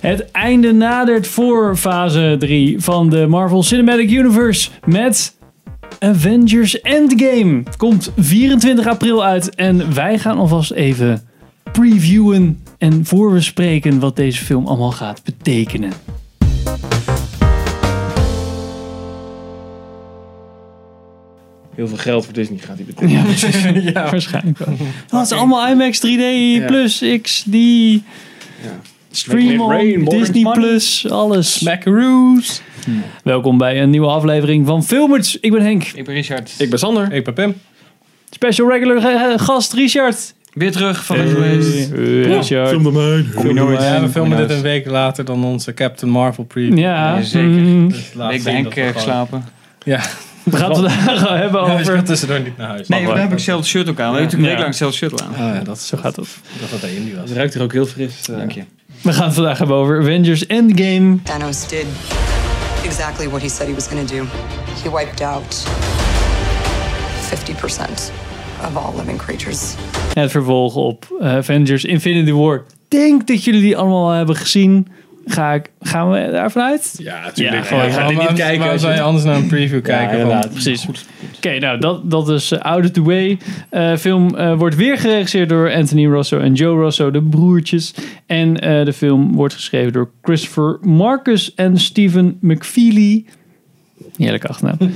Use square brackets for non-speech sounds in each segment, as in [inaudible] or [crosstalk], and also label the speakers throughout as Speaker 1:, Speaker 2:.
Speaker 1: Het einde nadert voor fase 3 van de Marvel Cinematic Universe met Avengers Endgame. Komt 24 april uit en wij gaan alvast even previewen en voorbespreken wat deze film allemaal gaat
Speaker 2: [laughs]
Speaker 1: betekenen.
Speaker 2: Heel veel geld voor Disney gaat hij betalen.
Speaker 1: ja, waarschijnlijk
Speaker 2: [laughs]
Speaker 1: wel. Oh, het is allemaal IMAX 3D plus X, die
Speaker 2: Ja.
Speaker 1: Stream
Speaker 2: Make it rain,
Speaker 1: on,
Speaker 2: Modern
Speaker 1: Disney
Speaker 2: Money.
Speaker 1: Plus, alles.
Speaker 2: Macaroos.
Speaker 1: Welkom bij een nieuwe aflevering van Filmers. Ik ben Henk,
Speaker 3: Ik ben Richard.
Speaker 2: Ik ben Sander.
Speaker 4: Ik ben Pim.
Speaker 1: special regular eh, gast Richard.
Speaker 3: Weer terug van de geweest.
Speaker 1: Richard.
Speaker 2: de mijn.
Speaker 1: Kom je nooit.
Speaker 4: Ja, we
Speaker 1: Kom
Speaker 4: filmen dit
Speaker 3: eens.
Speaker 4: een week later dan onze Captain Marvel preview.
Speaker 1: Ja,
Speaker 3: Jazeker.
Speaker 1: mm.
Speaker 4: Dus laat
Speaker 3: Ik
Speaker 4: zien
Speaker 3: ben Henk eh,
Speaker 4: dat we gewoon-
Speaker 3: geslapen.
Speaker 4: Ja,
Speaker 1: we gaan het vandaag hebben
Speaker 4: ja dus
Speaker 1: over...
Speaker 4: gaat tussendoor niet naar huis.
Speaker 3: Nee,
Speaker 4: Oh,
Speaker 3: daar heb ik hetzelfde shirt ook aan. We hebben natuurlijk een week
Speaker 1: Ja.
Speaker 3: lang hetzelfde shirt al aan.
Speaker 4: ja, dat is
Speaker 1: Zo gaat dat.
Speaker 4: dat wat één die was.
Speaker 2: Het ruikt er ook heel fris. eh.
Speaker 3: Dank je.
Speaker 1: We gaan het vandaag hebben over Avengers Endgame.
Speaker 5: Thanos did exactly what he said he was going to do. He wiped out 50% of all living creatures.
Speaker 1: Het vervolg op eh, Avengers Infinity War. Ik Denk dat jullie die allemaal al hebben gezien. Ga ik, gaan we daarvan uit?
Speaker 2: Ja,
Speaker 1: Ja,
Speaker 2: natuurlijk.
Speaker 1: gewoon-
Speaker 2: ik ga dit niet
Speaker 4: waarom,
Speaker 2: kijken.
Speaker 4: waarom
Speaker 2: als je-
Speaker 4: zou je anders naar een preview kijken?
Speaker 2: inderdaad.
Speaker 4: Want-
Speaker 1: Precies. Oké, nou dat, dat is eh, Out of the Way. Eh, film eh, wordt weer geregisseerd door Anthony Rosso en Joe Rosso, de broertjes. En eh, de film wordt geschreven door Christopher Marcus en Stephen McFeely. Heerlijk achternaam.
Speaker 4: in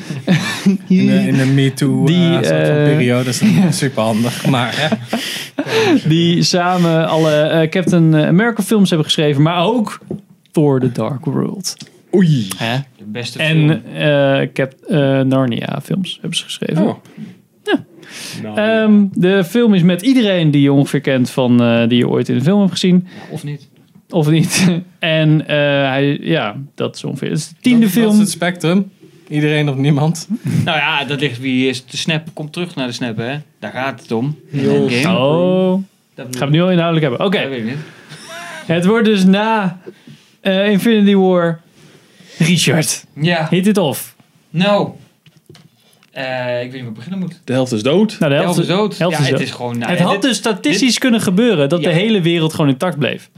Speaker 4: de, in de MeToo
Speaker 1: Die,
Speaker 4: eh, soort van
Speaker 1: eh,
Speaker 4: periode is dat super handig. Maar hè,
Speaker 1: Die samen alle eh, Captain America films hebben geschreven, maar ook Thor The Dark World.
Speaker 2: Oei.
Speaker 1: Hè?
Speaker 3: De beste film.
Speaker 1: En eh Cap eh, Narnia films hebben ze geschreven.
Speaker 2: Oh. Nou,
Speaker 1: Ehm, de film is met iedereen die je ongeveer kent van eh, die je ooit in de film hebt gezien.
Speaker 3: Of niet?
Speaker 1: Of niet. [laughs] En eh, hij, ja, dat is ongeveer. Het is de tiende
Speaker 4: dat- dat
Speaker 1: film.
Speaker 4: is het spectrum. Iedereen of niemand.
Speaker 3: Nou ja, dat ligt wie is. De snap komt terug naar de snap, hè? Daar gaat het om. In
Speaker 2: Yo.
Speaker 3: Endgame.
Speaker 1: Oh,
Speaker 3: Dat
Speaker 1: gaan we het nu al inhoudelijk hebben. Oké,
Speaker 3: Ja, weet ik niet.
Speaker 1: het wordt dus na eh, Infinity War. Richard,
Speaker 3: Ja.
Speaker 1: hit it off.
Speaker 3: Nou. Eh, ik weet niet waar ik beginnen moet.
Speaker 2: de helft is dood.
Speaker 1: Nou, de helft,
Speaker 3: Elf is dood.
Speaker 1: helft
Speaker 3: ja,
Speaker 1: is
Speaker 3: het
Speaker 1: dood.
Speaker 3: is gewoon... nou,
Speaker 1: het
Speaker 3: ja,
Speaker 1: had
Speaker 3: dit-
Speaker 1: dus statistisch kunnen gebeuren dat
Speaker 3: Ja.
Speaker 1: de hele wereld gewoon intact bleef.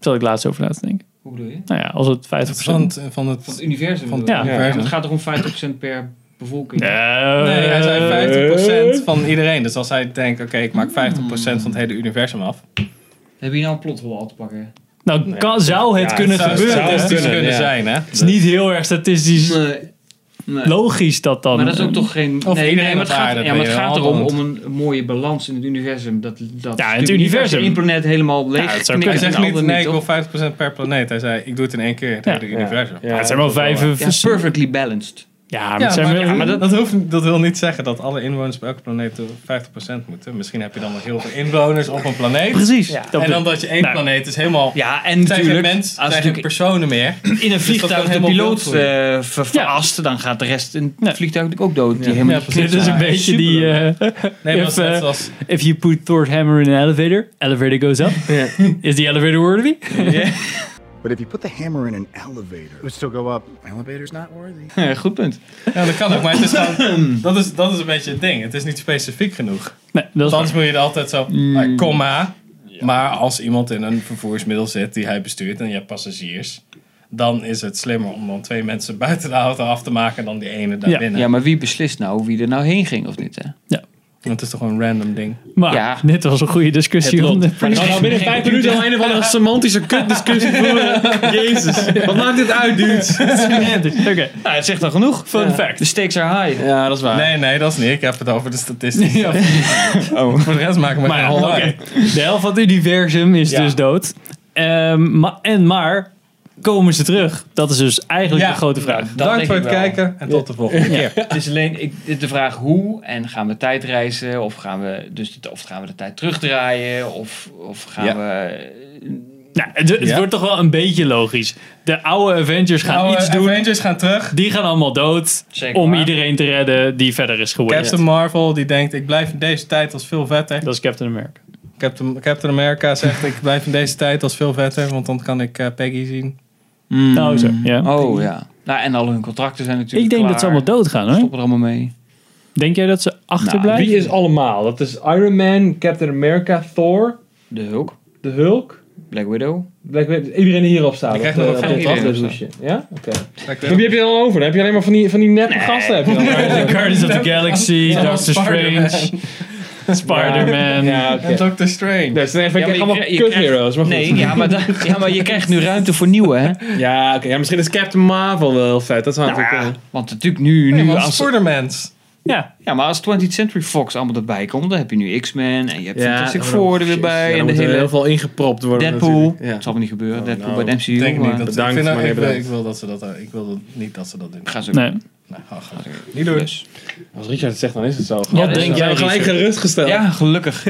Speaker 1: Zal ik laatst over na te denken.
Speaker 3: Hoe bedoel je?
Speaker 1: Nou ja, als het 50%.
Speaker 4: Van het, van het,
Speaker 3: Van het universum.
Speaker 4: Van-
Speaker 3: bedoel je?
Speaker 1: ja.
Speaker 3: Want Het gaat er om 50% per bevolking.
Speaker 1: Eh,
Speaker 4: nee, hij zei 50% van iedereen. Dus als hij denkt, oké, ik maak 50% van het hele universum af.
Speaker 3: Heb je nou een plothol al te pakken?
Speaker 1: Nou, kan, zou het
Speaker 2: Ja,
Speaker 1: kunnen
Speaker 2: zou-
Speaker 1: gebeuren.
Speaker 2: zou-
Speaker 1: Het
Speaker 4: Dus
Speaker 1: is
Speaker 4: die
Speaker 2: kunnen,
Speaker 4: kunnen
Speaker 2: ja.
Speaker 4: zijn, hè?
Speaker 1: dus niet heel erg statistisch
Speaker 3: Nee. nee.
Speaker 1: logisch dat dan.
Speaker 3: Maar dat is ook toch geen...
Speaker 4: Of
Speaker 3: nee,
Speaker 4: iedereen
Speaker 3: nee, maar het
Speaker 4: op
Speaker 3: gaat,
Speaker 4: aarde,
Speaker 3: ja, maar het
Speaker 4: ben je
Speaker 3: gaat
Speaker 4: wel
Speaker 3: erom
Speaker 4: hand.
Speaker 3: om een mooie balans in het universum. Dat, dat
Speaker 1: Ja, in het
Speaker 3: natuurlijk niet als je
Speaker 1: universum.
Speaker 3: één planeet helemaal leeg.
Speaker 1: dat zou
Speaker 3: knikt
Speaker 1: kunnen.
Speaker 4: Hij
Speaker 3: en
Speaker 4: zegt
Speaker 3: de
Speaker 4: niet,
Speaker 3: ander
Speaker 4: nee, ik
Speaker 3: toch?
Speaker 4: wil 50% per planeet. Hij zei, ik doe het in één keer, het
Speaker 1: Ja.
Speaker 4: hele universum.
Speaker 2: Ja.
Speaker 1: Ja, het zijn wel vijf. eh,
Speaker 3: Ja,
Speaker 1: vers-
Speaker 3: perfectly balanced.
Speaker 1: Ja, maar
Speaker 4: Ja,
Speaker 1: het zijn
Speaker 4: maar,
Speaker 1: wel-
Speaker 4: ja, maar dat,
Speaker 3: dat-
Speaker 4: dat, hoeft, dat wil niet zeggen dat alle inwoners op elke planeet door 50% moeten. Misschien heb je dan wel heel veel inwoners op een planeet.
Speaker 1: Precies. Dat
Speaker 4: En dan
Speaker 1: bedoel-
Speaker 4: dat je één
Speaker 1: Nou.
Speaker 4: planeet is helemaal...
Speaker 3: Ja, en
Speaker 4: zijn geen
Speaker 3: natuurlijk...
Speaker 4: mensen,
Speaker 3: als
Speaker 4: zijn geen
Speaker 3: natuurlijk
Speaker 4: personen [laughs] meer.
Speaker 3: in een vliegtuig
Speaker 4: kan
Speaker 3: de
Speaker 4: helemaal
Speaker 3: piloot
Speaker 4: wild
Speaker 3: eh, ver- verrast, dan gaat de rest in
Speaker 1: Nee.
Speaker 3: het vliegtuig natuurlijk ook dood. Die
Speaker 4: Ja.
Speaker 3: helemaal
Speaker 4: Ja,
Speaker 3: niet-
Speaker 1: [laughs]
Speaker 4: precies.
Speaker 1: dit is een
Speaker 4: Ja,
Speaker 1: beetje die. eh,
Speaker 4: Nee, maar dat is
Speaker 1: If, eh,
Speaker 4: net zoals...
Speaker 1: if you put Thor's hammer in an elevator, elevator goes up. Is the elevator worthy?
Speaker 6: But if you put the hammer in an elevator, it would still go up. Elevator's not worthy.
Speaker 3: Ja, [laughs] Goed punt.
Speaker 4: Ja, dat kan ook, maar het is gewoon... Dat is, dat is een beetje het ding. Het is niet specifiek genoeg.
Speaker 1: Nee, dat is Mm.
Speaker 4: Want anders moet je er altijd zo... eh, komma. Maar als iemand in een vervoersmiddel zit die hij bestuurt en je hebt passagiers... Dan is het slimmer om dan twee mensen [laughs] buiten de auto af te maken dan die ene daar
Speaker 1: Ja.
Speaker 4: binnen.
Speaker 3: Ja, maar wie beslist nou wie er nou heen ging of niet? Hè?
Speaker 4: Want het is toch gewoon een random ding.
Speaker 1: Maar
Speaker 3: Ja.
Speaker 1: dit was een goede discussie. Om de
Speaker 2: Nou, nou, binnen
Speaker 3: Geen
Speaker 2: vijf minuten al een of andere semantische kutdiscussie voeren. Jezus. Wat maakt dit uit, dudes?
Speaker 1: Oké,
Speaker 3: Nou, het zegt al genoeg.
Speaker 1: fun fact.
Speaker 3: De stakes are high.
Speaker 2: Ja, dat is waar.
Speaker 4: Nee, nee, dat is niet. Ik heb het over de statistieken. Oh.
Speaker 1: Ja.
Speaker 4: Voor de rest maken we
Speaker 1: Maar ja,
Speaker 4: geen
Speaker 1: oké.
Speaker 4: lawaai.
Speaker 1: De helft van het universum is
Speaker 4: Ja.
Speaker 1: dus dood. Ehm, ma- en maar, komen ze terug? Dat is dus eigenlijk
Speaker 4: Ja.
Speaker 1: de grote vraag.
Speaker 3: Dat
Speaker 4: Dank
Speaker 3: denk
Speaker 4: voor
Speaker 3: ik
Speaker 4: het
Speaker 3: wel.
Speaker 4: kijken en tot de volgende keer.
Speaker 3: Het is alleen ik, de vraag hoe en gaan we tijdreizen of gaan we, dus, de- of gaan we de tijd terugdraaien of, of gaan
Speaker 4: Ja.
Speaker 3: we...
Speaker 1: Nou, het het
Speaker 4: Ja.
Speaker 1: wordt toch wel een beetje logisch. De oude Avengers gaan
Speaker 4: Nou,
Speaker 1: iets
Speaker 4: eh,
Speaker 1: doen.
Speaker 4: Avengers gaan terug.
Speaker 1: Die gaan allemaal dood.
Speaker 3: Zeker
Speaker 1: om
Speaker 3: waar.
Speaker 1: iedereen te redden die verder is geworden.
Speaker 4: Captain Marvel die denkt, ik blijf in deze tijd als veel vetter.
Speaker 1: Dat is Captain America.
Speaker 4: Captain, Captain America zegt, ik blijf in deze tijd als veel vetter, want dan kan ik eh, Peggy zien.
Speaker 3: Mm.
Speaker 1: Nou, zo. Ja.
Speaker 3: Oh ja. Nou, en al hun contracten zijn natuurlijk
Speaker 1: ik denk
Speaker 3: klaar.
Speaker 1: dat ze allemaal dood gaan, hoor.
Speaker 3: Stoppen er allemaal mee.
Speaker 1: Denk jij dat ze
Speaker 7: Nou,
Speaker 1: achterblijven?
Speaker 2: Wie is allemaal? Dat is Iron Man, Captain America, Thor,
Speaker 3: De Hulk,
Speaker 2: de Hulk,
Speaker 3: Black Widow,
Speaker 7: Black Widow- Iedereen die hierop staat.
Speaker 4: Ik krijg
Speaker 7: op,
Speaker 4: nog
Speaker 7: eh,
Speaker 4: een
Speaker 7: op dit
Speaker 3: vraag.
Speaker 7: afleveringshoesje. Ja? Oké. Wie heb je dan over? Dan heb je alleen maar van die, van die neppe gasten. Heb je
Speaker 4: [laughs]
Speaker 7: dan.
Speaker 1: Guardians of the Galaxy,
Speaker 4: Allemaal
Speaker 1: Doctor
Speaker 4: Spider-Man.
Speaker 1: Strange, Spider-Man.
Speaker 7: Ja, oké.
Speaker 4: En Doctor Strange.
Speaker 7: Dus dan vind
Speaker 3: maar
Speaker 7: ik
Speaker 3: je
Speaker 7: allemaal
Speaker 3: krijgt- je
Speaker 7: kut
Speaker 3: krijgt-
Speaker 7: heroes. Maar goed.
Speaker 3: Nee, ja maar, da- [laughs] ja, maar je krijgt nu ruimte voor nieuwe, hè?
Speaker 7: Ja, oké. Ja, misschien is Captain Marvel wel heel vet. Dat zou
Speaker 3: Nou
Speaker 7: natuurlijk
Speaker 3: ja,
Speaker 7: kunnen.
Speaker 3: want natuurlijk nu,
Speaker 4: Nee,
Speaker 3: nu
Speaker 4: want
Speaker 3: als,
Speaker 4: Spider-Mans.
Speaker 1: Ja,
Speaker 3: ja, maar als 20th Century Fox allemaal erbij komt, dan heb je nu X-Men en je hebt Fantastic
Speaker 7: oh,
Speaker 3: Four er weer
Speaker 7: jezus. Ja,
Speaker 3: bij
Speaker 7: dan
Speaker 3: en de
Speaker 7: moet er
Speaker 3: hele
Speaker 7: heel veel ingepropt worden
Speaker 3: Deadpool.
Speaker 7: natuurlijk.
Speaker 3: Het zal me niet gebeuren, Deadpool
Speaker 7: nou,
Speaker 3: bij de MCU.
Speaker 4: Ik denk niet
Speaker 3: maar-
Speaker 4: dat
Speaker 7: Bedankt,
Speaker 4: ik, vind dat-
Speaker 7: maar nee,
Speaker 4: ik, wil,
Speaker 7: bedankt.
Speaker 4: ik wil dat ze dat ik wil dat, niet dat ze dat doen.
Speaker 3: Gaan ze
Speaker 1: nee.
Speaker 4: Nee, ga- ga-
Speaker 7: Niet doen.
Speaker 3: dus.
Speaker 7: Ja. Als Richard het zegt, dan is het zo.
Speaker 1: Wat
Speaker 3: dat
Speaker 1: denk
Speaker 3: is wel.
Speaker 7: zijn
Speaker 1: jij,
Speaker 7: we gelijk
Speaker 1: Richard?
Speaker 7: gerustgesteld.
Speaker 3: Ja, gelukkig.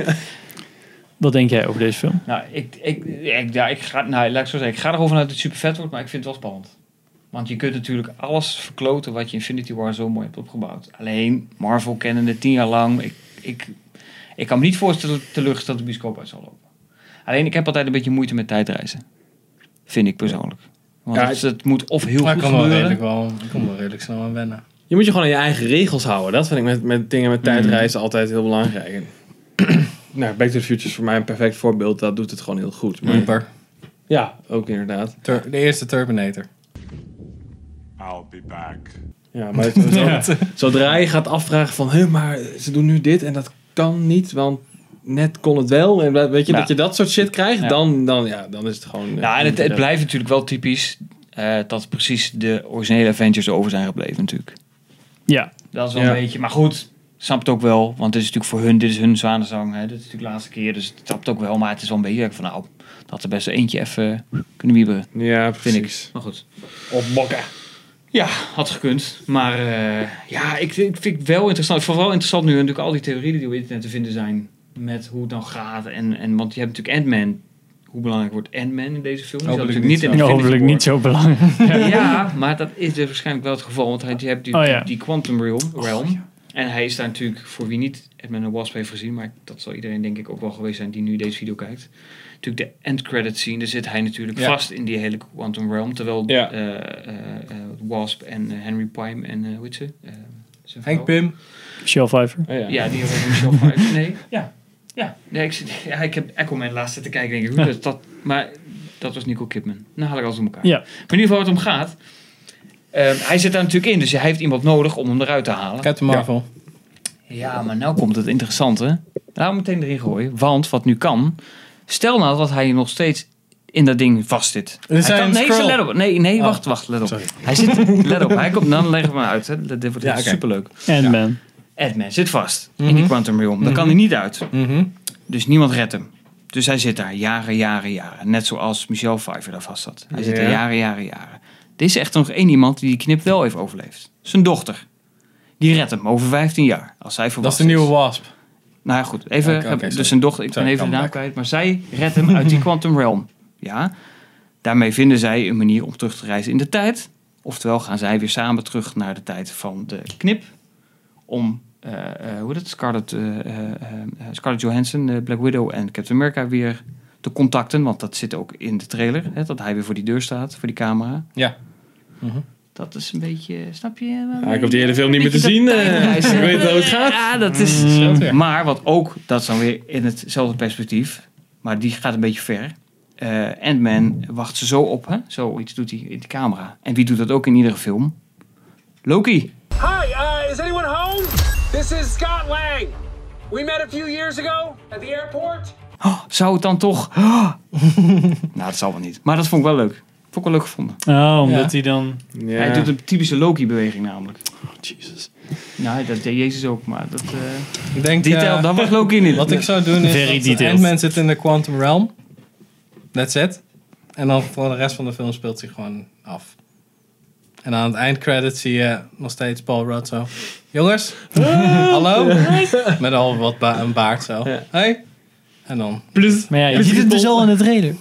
Speaker 1: Wat denk jij over deze film?
Speaker 3: nou, ik, ik, ik, ja, ik, ga, nou, laat ik, zo zeggen, ik ga er gewoon vanuit dat het super vet wordt, maar ik vind het wel spannend. Want je kunt natuurlijk alles verkloten wat je Infinity War zo mooi hebt opgebouwd. Alleen, Marvel kennende tien jaar lang. Ik, ik, ik kan me niet voorstellen teleurgesteld de bioscoop uit zal lopen. Alleen, ik heb altijd een beetje moeite met tijdreizen. Vind ik persoonlijk. Want
Speaker 7: Ja,
Speaker 3: het, het moet of heel
Speaker 4: Maar
Speaker 3: goed
Speaker 4: ik kan wel
Speaker 3: gebeuren.
Speaker 4: redelijk wel, ik kan wel redelijk snel aan wennen.
Speaker 7: Je moet je gewoon aan je eigen regels houden. Dat vind ik met, met dingen met tijdreizen altijd heel belangrijk. En, Mm. [clears throat] nou, Back to the Future is voor mij een perfect voorbeeld. Dat doet het gewoon heel goed.
Speaker 3: Mm.
Speaker 7: Maar,
Speaker 4: Reaper.
Speaker 7: Ja, ook inderdaad.
Speaker 4: Tur- de eerste Terminator.
Speaker 8: I'll be back.
Speaker 7: Ja, maar
Speaker 3: [laughs]
Speaker 7: het- zo- zodra je gaat afvragen van... Hé, maar ze doen nu dit en dat kan niet, want net kon het wel. En we- weet je,
Speaker 3: Ja.
Speaker 7: dat je dat soort shit krijgt,
Speaker 3: Ja.
Speaker 7: Dan, dan, ja, dan is het gewoon... eh,
Speaker 3: Nou, en het, het
Speaker 7: inderdaad.
Speaker 3: blijft natuurlijk wel typisch eh, dat precies de originele Avengers over zijn gebleven natuurlijk.
Speaker 1: Ja,
Speaker 3: Dat is wel
Speaker 7: Ja.
Speaker 3: een beetje, maar goed, snap het ook wel. Want dit is natuurlijk voor hun, dit is hun zwanenzang. Hè. Dit is natuurlijk de laatste keer, dus het snapt ook wel. Maar het is wel een beetje van, nou, dat had er best eentje even kunnen wieberen,
Speaker 7: Ja,
Speaker 3: vind
Speaker 7: precies.
Speaker 3: ik. Maar goed.
Speaker 7: Of mokken.
Speaker 3: Ja, had gekund. Maar eh, ja, ik, ik vind het wel interessant. Vooral interessant nu natuurlijk al die theorieën die op internet te vinden zijn. Met hoe het dan gaat. En, en, want je hebt natuurlijk Ant-Man. Hoe belangrijk wordt Ant-Man in deze film? Die zat
Speaker 4: Hopelijk
Speaker 3: natuurlijk
Speaker 4: niet
Speaker 3: in
Speaker 4: zo.
Speaker 3: Infinity
Speaker 1: hopelijk
Speaker 3: War.
Speaker 1: niet zo belangrijk.
Speaker 3: Ja, maar dat is dus waarschijnlijk wel het geval. Want hij- je hebt die,
Speaker 1: Oh ja.
Speaker 3: die Quantum Realm. realm En hij is daar natuurlijk, voor wie niet Edmund de Wasp heeft gezien... maar dat zal iedereen denk ik ook wel geweest zijn die nu deze video kijkt. Natuurlijk de end credit scene, daar zit hij natuurlijk
Speaker 4: Ja.
Speaker 3: vast in die hele Quantum Realm. Terwijl
Speaker 7: Ja.
Speaker 3: eh, eh, eh, Wasp en eh, Henry Pym en eh hoe heet ze? Eh, zijn
Speaker 4: Henk
Speaker 3: vrouw?
Speaker 4: Pim.
Speaker 1: Michelle Pfeiffer.
Speaker 7: Oh, ja.
Speaker 3: Ja, die hebben Michelle Pfeiffer. Nee, ja. Ja, nee, ik, zit- ja, ik heb Echo Man laatst zitten kijken. Denk ik, hoe dat, dat, maar dat was Nicole Kidman. Nou haal ik alles om elkaar.
Speaker 1: Ja.
Speaker 3: Maar in ieder geval waar het om gaat. ehm, hij zit daar natuurlijk in, dus hij heeft iemand nodig om hem eruit te halen.
Speaker 4: Captain Marvel.
Speaker 3: Ja, maar nou komt het interessante. Laat hem meteen erin gooien. Want wat nu kan. Stel nou dat hij nog steeds in dat ding vastzit. Hij
Speaker 4: zijn
Speaker 3: kan,
Speaker 4: een
Speaker 3: nee,
Speaker 4: scroll. Oh.
Speaker 3: let op. Nee, nee wacht, wacht, let op. Hij zit, let op. Hij komt, dan leggen we hem uit. Hè. Dit wordt
Speaker 4: oké.
Speaker 3: superleuk.
Speaker 1: Ant-Man.
Speaker 3: Edman zit vast in
Speaker 4: Mhm.
Speaker 3: die Quantum Realm. Dan kan hij niet uit. Dus niemand redt hem. Dus hij zit daar jaren, jaren, jaren. Net zoals Michelle Pfeiffer daar vast zat. Hij zit daar
Speaker 7: Ja.
Speaker 3: jaren, jaren, jaren. Er is echt nog één iemand die die knip wel heeft overleefd. Zijn dochter. Die redt hem over 15 jaar. Als zij
Speaker 4: Dat is
Speaker 3: volwassen
Speaker 4: de nieuwe Wasp.
Speaker 3: Nou ja, goed. Even,
Speaker 4: Oké, oké, sorry.
Speaker 3: dus zijn dochter, ik
Speaker 4: Sorry,
Speaker 3: ben even de
Speaker 4: kan
Speaker 3: naam kwijt. Maar zij redt hem
Speaker 4: [laughs]
Speaker 3: uit die Quantum Realm. Ja. Daarmee vinden zij een manier om terug te reizen in de tijd. Oftewel gaan zij weer samen terug naar de tijd van de knip. Om, eh, eh, hoe heet het, Scarlett, eh, eh, eh, Scarlett Johansson, eh, Black Widow en Captain America weer te contacten. Want dat zit ook in de trailer. Hè, dat hij weer voor die deur staat, voor die camera.
Speaker 4: Ja.
Speaker 3: Dat is een beetje, snap je?
Speaker 7: Ja, ik hoef die hele film niet meer te zien. eh. ik weet hoe het gaat. Mm.
Speaker 3: Ja, dat is.
Speaker 4: weer.
Speaker 3: Maar wat ook, dat is dan weer in hetzelfde perspectief. Maar die gaat een beetje ver. Eh Ant-Man wacht ze zo op, hè? Zoiets doet hij in de camera. En wie doet dat ook in iedere film? Loki.
Speaker 9: Hi, uh, is anyone home? This is Scott Lang. We met a few years ago at the airport.
Speaker 3: Zou het dan
Speaker 1: [gasps]
Speaker 3: toch. nou, dat zal wel niet. Maar dat vond ik wel leuk. Vond ik wel leuk gevonden.
Speaker 1: Oh, omdat hij dan...
Speaker 7: Ja.
Speaker 3: Hij doet een typische Loki-beweging namelijk. Oh, Jesus. Nou, dat deed Jezus ook, maar dat. eh
Speaker 4: Ik denk,
Speaker 3: detail,
Speaker 4: eh,
Speaker 3: dat was
Speaker 1: [laughs]
Speaker 3: Loki niet.
Speaker 4: wat ik zou doen is
Speaker 1: Very
Speaker 4: dat
Speaker 1: detailed.
Speaker 4: Ant-Man zit in de Quantum Realm. That's it. En dan voor de rest van de film speelt hij gewoon af. En aan het eindcredit zie je nog steeds Paul Rudd zo. Jongens, hallo. Met al wat ba- een baard zo. Hey. En dan.
Speaker 1: Maar ja, je ziet het dus al in de trailer.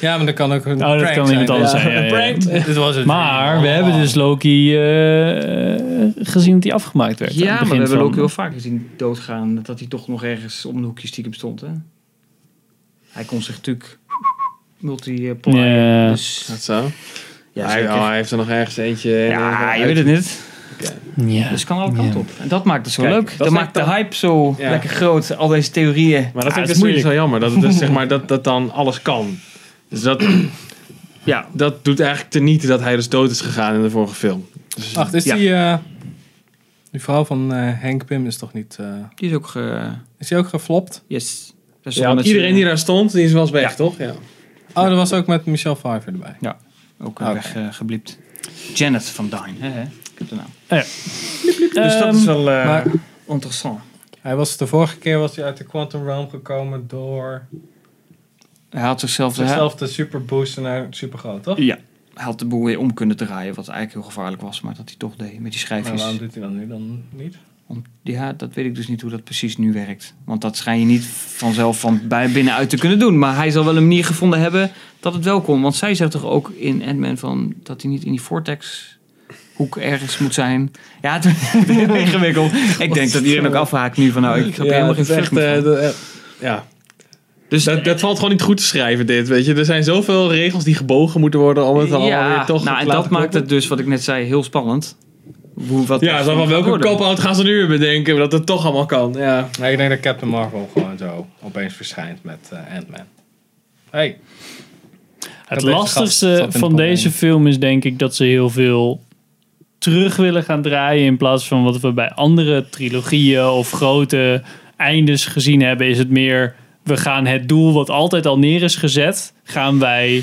Speaker 4: Ja, maar dat kan ook een
Speaker 1: Oh, dat
Speaker 4: prank
Speaker 1: kan iemand
Speaker 4: zijn.
Speaker 1: anders zijn. ja, [laughs] ja, ja.
Speaker 4: Dit was het.
Speaker 1: Maar we hebben dus Loki eh, eh, gezien dat hij afgemaakt werd. aan
Speaker 3: Ja,
Speaker 1: het
Speaker 3: maar we
Speaker 1: begin
Speaker 3: hebben
Speaker 1: van-
Speaker 3: ook heel vaak gezien doodgaan. Dat hij toch nog ergens om de hoekje stiekem stond. Hè? Hij kon zich natuurlijk multi-plyen.
Speaker 1: Ja.
Speaker 3: Dus,
Speaker 7: Dat zo.
Speaker 3: ja,
Speaker 7: hij,
Speaker 3: zeker.
Speaker 7: oh, hij heeft er nog ergens eentje. en,
Speaker 3: ja,
Speaker 7: eh,
Speaker 3: je weet het niet.
Speaker 1: Ja.
Speaker 3: Dus het kan alle kanten op. En dat maakt het zo
Speaker 7: Kijk,
Speaker 3: leuk.
Speaker 7: dat
Speaker 3: Dat,
Speaker 7: is
Speaker 3: maakt de
Speaker 7: echt dan-
Speaker 3: hype zo
Speaker 7: Ja.
Speaker 3: lekker groot. Al deze theorieën.
Speaker 7: Maar dat
Speaker 1: Ja,
Speaker 7: vind ik
Speaker 1: dat
Speaker 7: dus
Speaker 1: is
Speaker 7: moeilijk. zo jammer. Dat, het dus, zeg maar, dat, dat dan alles kan. Dus Dus
Speaker 3: [clears throat]
Speaker 7: dat, ja, dat doet eigenlijk tenieten dat hij dus dood is gegaan in de vorige film.
Speaker 4: Wacht, is
Speaker 3: Ja.
Speaker 4: die... eh, die vrouw van eh, Henk Pim is toch niet... eh,
Speaker 3: Die is ook ge...
Speaker 4: is die ook geflopt?
Speaker 3: Yes. Dat Dus is
Speaker 7: Ja,
Speaker 3: wel
Speaker 7: want
Speaker 3: met
Speaker 7: iedereen
Speaker 3: z'n-
Speaker 7: die daar stond, die is wel eens weg,
Speaker 3: Ja.
Speaker 7: toch? Ja.
Speaker 4: Oh, dat was ook met Michelle Pfeiffer erbij.
Speaker 3: Ook
Speaker 7: Ah,
Speaker 4: Oké.
Speaker 3: weggebliept. Janet van Dyne. Hè, hè? Ik heb de naam.
Speaker 1: Ehm,
Speaker 3: Dus dat is wel eh,
Speaker 4: maar-
Speaker 3: interessant.
Speaker 4: Hij was de vorige keer was hij uit de Quantum Realm gekomen door
Speaker 3: Hij had zichzelf,
Speaker 4: zichzelf te superboosten naar supergroot, toch?
Speaker 3: Ja. Hij had de boel weer om kunnen draaien, wat eigenlijk heel gevaarlijk was, maar dat hij toch deed met die
Speaker 4: Maar
Speaker 3: schrijfjes.
Speaker 4: waarom doet hij dat nu dan niet?
Speaker 3: Om- ja, dat weet ik dus niet hoe dat precies nu werkt. Want dat schijn je niet vanzelf van bij binnenuit te kunnen doen. Maar hij zal wel een manier gevonden hebben dat het wel kon. Want zij zegt toch ook in Ant-Man van dat hij niet in die vortex hoek ergens moet zijn. Ja, het [laughs] wordt heel ingewikkeld. Ik denk dat iedereen ook afhaakt nu van nou, ik heb
Speaker 7: Ja,
Speaker 3: helemaal
Speaker 7: dat
Speaker 3: geen
Speaker 7: is echt,
Speaker 3: vlucht
Speaker 7: eh,
Speaker 3: meer van.
Speaker 7: dat- eh, ja.
Speaker 3: Dus
Speaker 7: Dat, dat valt gewoon niet goed te schrijven, dit. Weet je, er zijn zoveel regels die gebogen moeten worden om het allemaal weer toch
Speaker 3: nou,
Speaker 7: te
Speaker 3: en
Speaker 7: laten
Speaker 3: dat maakt
Speaker 7: kloppen.
Speaker 3: het dus, wat ik net zei, heel spannend. Hoe, wat
Speaker 7: Ja, zo van welke
Speaker 3: worden.
Speaker 7: cop-out gaan ze nu weer bedenken dat het toch allemaal kan. Ja.
Speaker 4: Nee, ik denk dat Captain Marvel gewoon zo opeens verschijnt met eh, Ant-Man. Hey,
Speaker 1: Het
Speaker 4: Dat ligt-
Speaker 1: lastigste
Speaker 4: zat in
Speaker 1: van
Speaker 4: het
Speaker 1: deze film is denk ik dat ze heel veel terug willen gaan draaien. In plaats van wat we bij andere trilogieën of grote eindes gezien hebben, is het meer we gaan het doel wat altijd al neer is gezet, gaan wij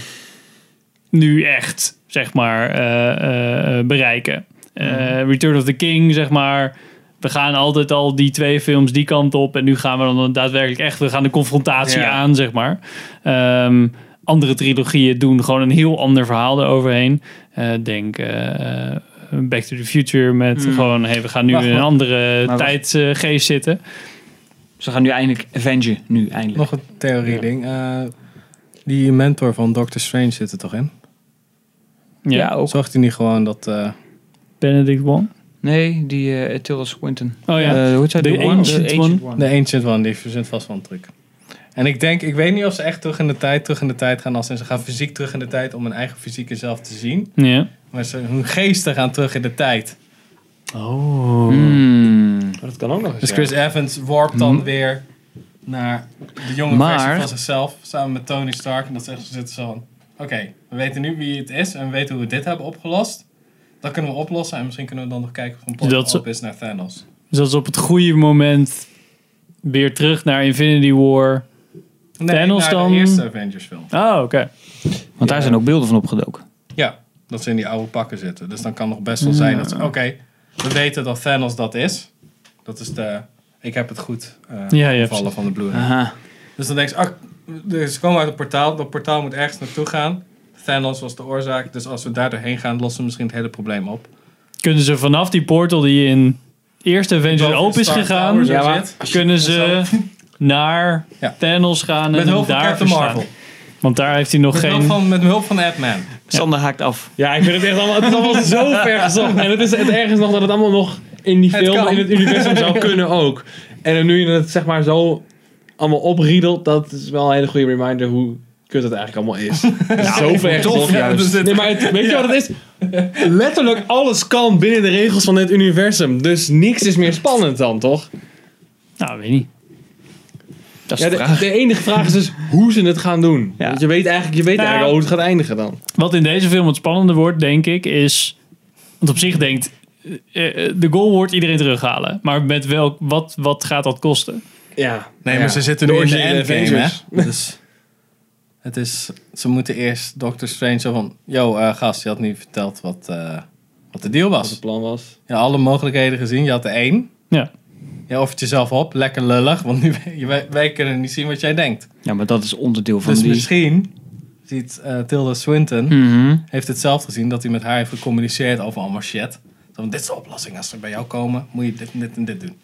Speaker 1: nu echt, zeg maar, eh, eh, eh, bereiken. Eh, Return of the King, zeg maar. We gaan altijd al die twee films die kant op. En nu gaan we dan daadwerkelijk echt, we gaan de confrontatie
Speaker 7: Ja.
Speaker 1: aan, zeg maar. Ehm, andere trilogieën doen gewoon een heel ander verhaal eroverheen. Eh, denk eh, eh, Back to the Future met gewoon, hey, we gaan nu
Speaker 4: Wacht,
Speaker 1: in een
Speaker 4: maar-
Speaker 1: andere
Speaker 3: maar wacht.
Speaker 1: tijdgeest zitten.
Speaker 3: Ze gaan nu eindelijk avengen, nu eindelijk.
Speaker 4: nog een theorie-ding. Eh, die mentor van Doctor Strange zit er toch in?
Speaker 1: Ja,
Speaker 3: ook.
Speaker 4: Zorgt hij niet gewoon dat... eh,
Speaker 1: Benedict Wong.
Speaker 3: Nee, die eh Tilda Swinton.
Speaker 1: Oh ja.
Speaker 3: Eh, hoe heet zij?
Speaker 1: The
Speaker 3: De One-
Speaker 1: Ancient
Speaker 3: de
Speaker 1: One.
Speaker 4: de Ancient One, die verzint vast wel een truc. En ik denk, ik weet niet of ze echt terug in de tijd, terug in de tijd gaan. Als in, ze gaan fysiek terug in de tijd om hun eigen fysieke zelf te zien.
Speaker 1: Ja.
Speaker 4: Maar ze, hun geesten gaan terug in de tijd.
Speaker 1: Dus Oh.
Speaker 3: Hmm.
Speaker 7: dat kan ook nog
Speaker 4: Dus Chris Evans warpt dan
Speaker 1: Mm.
Speaker 4: weer naar de jonge
Speaker 3: Maar-
Speaker 4: versie van zichzelf. Samen met Tony Stark. En dat ze echt zitten zo van... Oké, we weten nu wie het is. En we weten hoe we dit hebben opgelost. Dat kunnen we oplossen. En misschien kunnen we dan nog kijken of een
Speaker 1: Dat ze-
Speaker 4: portal op is naar Thanos.
Speaker 1: Dus dat is op het goede moment weer terug naar Infinity War.
Speaker 4: Nee,
Speaker 1: Thanos
Speaker 4: naar
Speaker 1: dan-
Speaker 4: de eerste Avengers film.
Speaker 1: Oh, oké.
Speaker 3: Want daar zijn ook beelden van opgedoken.
Speaker 4: Ja, dat ze in die oude pakken zitten. Dus dan kan nog best wel zijn dat ze... Oké, we weten dat Thanos dat is. Dat is de... Ik heb het goed eh
Speaker 1: Ja, ja,
Speaker 4: gevallen van de Blu-ray.
Speaker 3: Aha.
Speaker 4: Dus dan denk je, ah, dus ze komen uit een portaal. Dat portaal moet ergens naartoe gaan. Thanos was de oorzaak. Dus als we daar doorheen gaan, lossen we misschien het hele probleem op.
Speaker 1: Kunnen ze vanaf die portal die in eerste Avengers
Speaker 4: Boven
Speaker 1: open is
Speaker 4: Star
Speaker 1: gegaan,
Speaker 4: Tower zo
Speaker 1: Ja, maar-
Speaker 4: zit.
Speaker 1: kunnen ze naar
Speaker 4: Ja.
Speaker 1: Thanos gaan
Speaker 4: Met
Speaker 1: en
Speaker 4: hulp van
Speaker 1: daar
Speaker 4: Captain
Speaker 1: verslaan.
Speaker 4: Marvel.
Speaker 1: Want daar heeft hij nog
Speaker 4: Met
Speaker 1: geen...
Speaker 4: hulp van, met hulp van Ant-Man.
Speaker 3: Sander haakt af.
Speaker 7: Ja, ik vind het echt allemaal, het is allemaal zo ver gezocht. En het is het ergens nog dat het allemaal nog in die
Speaker 4: Het
Speaker 7: film,
Speaker 4: kan.
Speaker 7: in het universum zou kunnen ook. En dan nu je het zeg maar zo allemaal opriedelt, dat is wel een hele goede reminder hoe kut het eigenlijk allemaal is. zo ver gezocht.
Speaker 4: Ja, er zit-
Speaker 7: Nee, maar het- weet je wat het is? Letterlijk alles kan binnen de regels van dit universum. Dus niks is meer spannend dan, toch?
Speaker 1: Nou, weet niet.
Speaker 3: Dat is
Speaker 7: Ja,
Speaker 3: de
Speaker 7: de,
Speaker 3: vraag.
Speaker 7: de enige vraag is dus hoe ze het gaan doen.
Speaker 3: Ja.
Speaker 7: Want je weet eigenlijk, je weet
Speaker 1: Nou.
Speaker 7: eigenlijk al hoe het gaat eindigen dan.
Speaker 1: Wat in deze film het spannende wordt, denk ik, is... Want op zich denkt, eh, eh, de goal wordt iedereen terughalen. Maar met welk, wat, wat gaat dat kosten?
Speaker 7: Ja.
Speaker 4: Nee,
Speaker 7: Ja.
Speaker 4: maar ze zitten
Speaker 7: De
Speaker 4: nu in de
Speaker 7: originele
Speaker 4: endgame, hè?
Speaker 7: Avengers.
Speaker 4: [laughs] Dus het is, ze moeten eerst Doctor Strange zo van... Yo, eh, gast, je had niet verteld wat, eh, wat de deal
Speaker 7: Wat het
Speaker 4: was.
Speaker 7: plan was.
Speaker 4: Je had alle mogelijkheden gezien, je had er één.
Speaker 1: Ja.
Speaker 4: Je offert jezelf op, lekker lullig, want nu, [laughs] je- wij, wij kunnen niet zien wat jij denkt.
Speaker 3: Ja, maar dat is onderdeel van
Speaker 4: Dus
Speaker 3: die...
Speaker 4: misschien ziet eh, Tilda Swinton...
Speaker 3: Mhm.
Speaker 4: heeft het zelf gezien dat hij met haar heeft gecommuniceerd over allemaal shit. Zo Van, dit is de oplossing. Als ze bij jou komen, moet je dit en dit en dit doen.